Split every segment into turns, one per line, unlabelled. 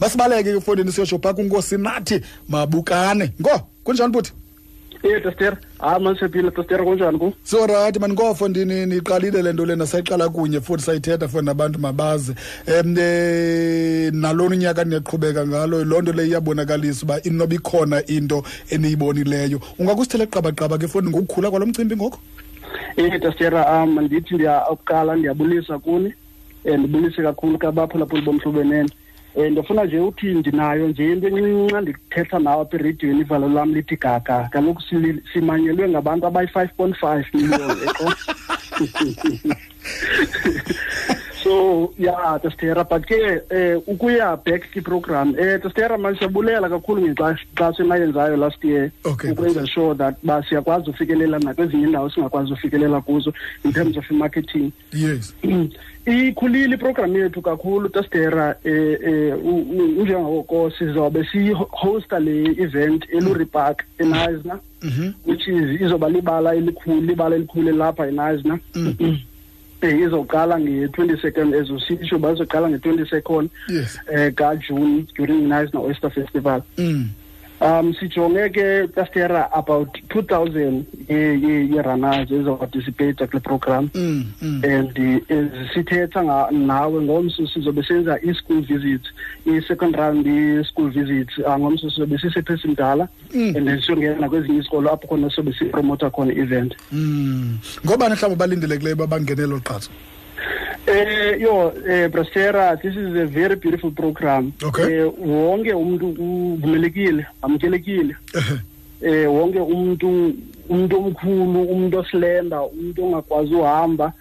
basibaleke ke fondini siyosho phaa kunkosi nathi mabukane ngo kunjani buthi
ye Ee, tester hayi manishephile tester kunjani ku
sorayithi mani koofondini niqalile le nto lena sayiqala kunye futhi sayithetha for nabantu mabazi um eh, nalona unyaka niyaqhubeka ngalo loo nto le iyabonakalisa uba inoba ikhona into eniyibonileyo ungakusithela qabaqaba ke fondi ngokukhula kwalo mcimbi ngoko
ye tester um ndithi ndiya okuqala ndiyabulisa kuni um ndibulise kakhulu kabaphulaphuli bomhlubenene um ndifuna nje uthi ndinayo nje into encinci ndithetha nawe apha erediyweni ivalo lam lithi gaga kaloku sili- simanyelwe ngabantu abayi-five point five million eqo so ya testera but ke um ukuya back kwi-program um testera manje siyabulela kakhulu ngenkxaso enayenzayo last year
Okay.
ukwenza sure that uba siyakwazi ufikelela nakwezinye iindawo singakwazi ufikelela kuzo in terms of i-marketing
yes
ikhulile iprogram yethu kakhulu eh, tastera um unjengoko sizawube sihosta le event eluri park enisna
Mhm.
which is izoba libala elikhulu libala elikhulu elapha enisna
Mm.
um izawuqala nge-twenty second as usitsho bazoqala nge-twenty second
yes
um kajune during inisna oyster festival
mm.
um sijonge ke tastera about two thousand yerunners ezawuparticipata kule program
Mm. Mm.
and eh, eh, sithetha nga- nawe ngomso sizobe senza i-school visits i-second round i-school visits ah, ngomso sizobe sisephesindala
Mm.
and then siyongena kwezinye isikolo apho khona sizobe sipromotha khona i-event
Mm. ngobani mhlawumbi balindelekileyo uba bangenelo qatha
Eh yo eh Brasera this is a very beautiful program.
Okay.
Eh wonke umuntu uvumelekile, amkelekile. Eh wonke umuntu umuntu omkhulu, umuntu oslenda, umuntu ongakwazi uhamba.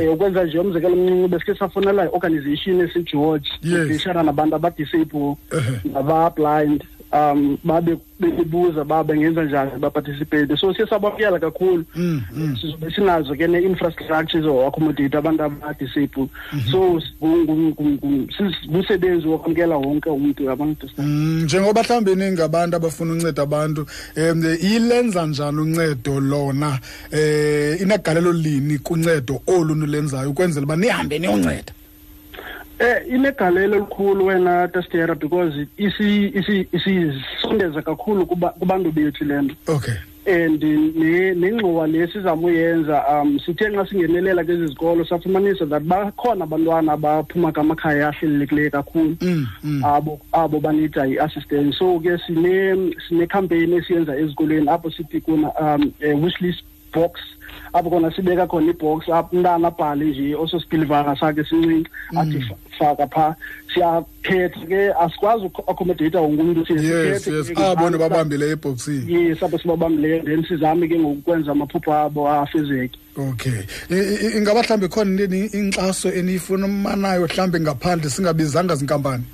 Eh ukwenza nje umzekelo omncinci besike safonela i-organization esiGeorge,
Yes.
ishara nabantu abadisable,
Uh-huh.
nabablind um babe bebuza babe ngenza njani baparticipate. So siyasabamkela kakhulu.
Mm, mm.
sizobe sinazo ke ne-infrastructure ezowakhomodate abantu abadisable so ngu- ngu- ngu- ngu- sis- ngumsebenzi wokwamkela wonke umntu abantu
Mm, njengoba mhlawumbi ningabantu abafuna unceda abantu um ilenza njani uncedo lona um inegalelo lini kuncedo olu nilenzayo ukwenzela uba nihambe niyonceda
Eh inegalelo elikhulu wena testera because isi isi isisondeza kakhulu kuba- kubantu bethu lento
okay
and ne- nengxowa lesizamuyenza um sithe nxa singenelela kwezi zikolo safumanisa that bakhona abantwana abaphuma kamakhaya ahlelelekileyo kakhulu
mm, mm.
abo abo banida i-assistance so ke sine sinecampaign esiyenza ezikolweni apho sithi kuna um eh, wishlist box apho khona sibeka khona ibox apho umntana abhale nje osospilivanga sakhe sincinci
Mm.
athi fa- faka phaa siyakhetha ke asikwazi uku-accommodata wonke umntu siye
yes yes
sikhethe
Ah,
ke
abo
abantu
nibabambile ebhoksini
yes apho sibabambileyo then sizame ke ngokukwenza amaphupho abo afezeke
okay I- i- ingaba mhlawumbi khona into eni- inkxaso eniyifumanayo mhlawumbi ngaphandle singabizanga zinkampani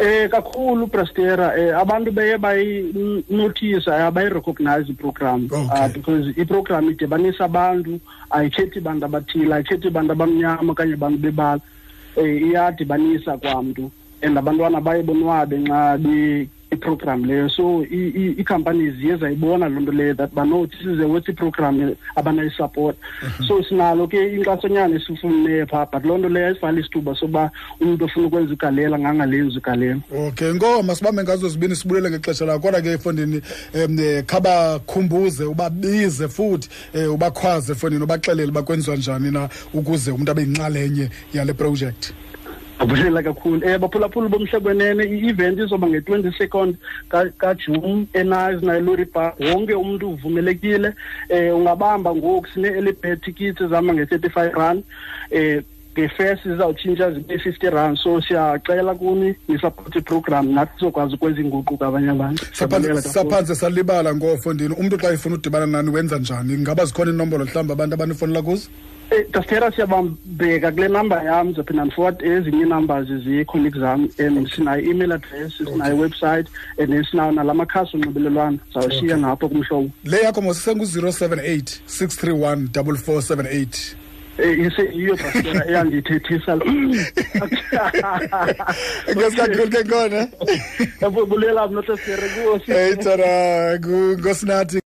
Eh kakhulu Prastera eh abantu beye bayi notice abayi recognize iprogram
Okay.
Ah, because iprogram idibanisa abantu ayikhethi bantu abathile ayikhethi bantu abamnyama kanye abantu bebala eh iyadibanisa kwamntu and abantwana baye bonwabe nxa be iprogram leyo so i- i- i-companies ziye zayibona loo nto leyo that bano this is a worthy program abanayisupport so sinalo ke inkxasonyana esifumene phaa but loo nto leyo ayisifani isithuba soba umntu ofuna ukwenza igalela ngangalenzi igalela
okay ngoma sibambe ngazo zibini sibulele ngexesha lakho kodwa ke efondini um khabakhumbuze ubabize futhi um ubakhwaze efondini ubaxelele uba kwenziwa njani na ukuze umntu abe yinxalenye yale projekthi
abulela kakhulu um baphulaphula bomhlekwenene i-event izoba nge-twenty second kajune enazi nayelori park wonke umntu uvumelekile um ungabamba ngoku sine-elibet tickets ezihamba nge-thirty-five rand um ngefesi zizawutshintsha zibe fifty rand so siyacela kuni nisapothe iprogram nathi sizokwazi ukwenza inguqu kabanye abantu
Saphantse-
Siyabulela kakhulu.
saphantse salibala ngoofondini umntu xa efuna udibana nani wenza njani ngaba zikhona inombolo mhlawumbi abantu abanifowunela kuzo
Eh, Tastera siyabambeka kule number yam ndizophinda ndi-forward ezinye i-numbers zii-colleagues zam and sinayo i-email address sinayo iwebsite and then sinawo nala makhasi onxibelelwano zawushiya ngapho kumhlobo
le yakho mosisengu-078 631 4478
Eh, ise- yiyo Tastera eyandiyithethisa
ngesikakhulu ke ngona
Eh, ebulela mna Tastera kuwo
eyitara ngosinathi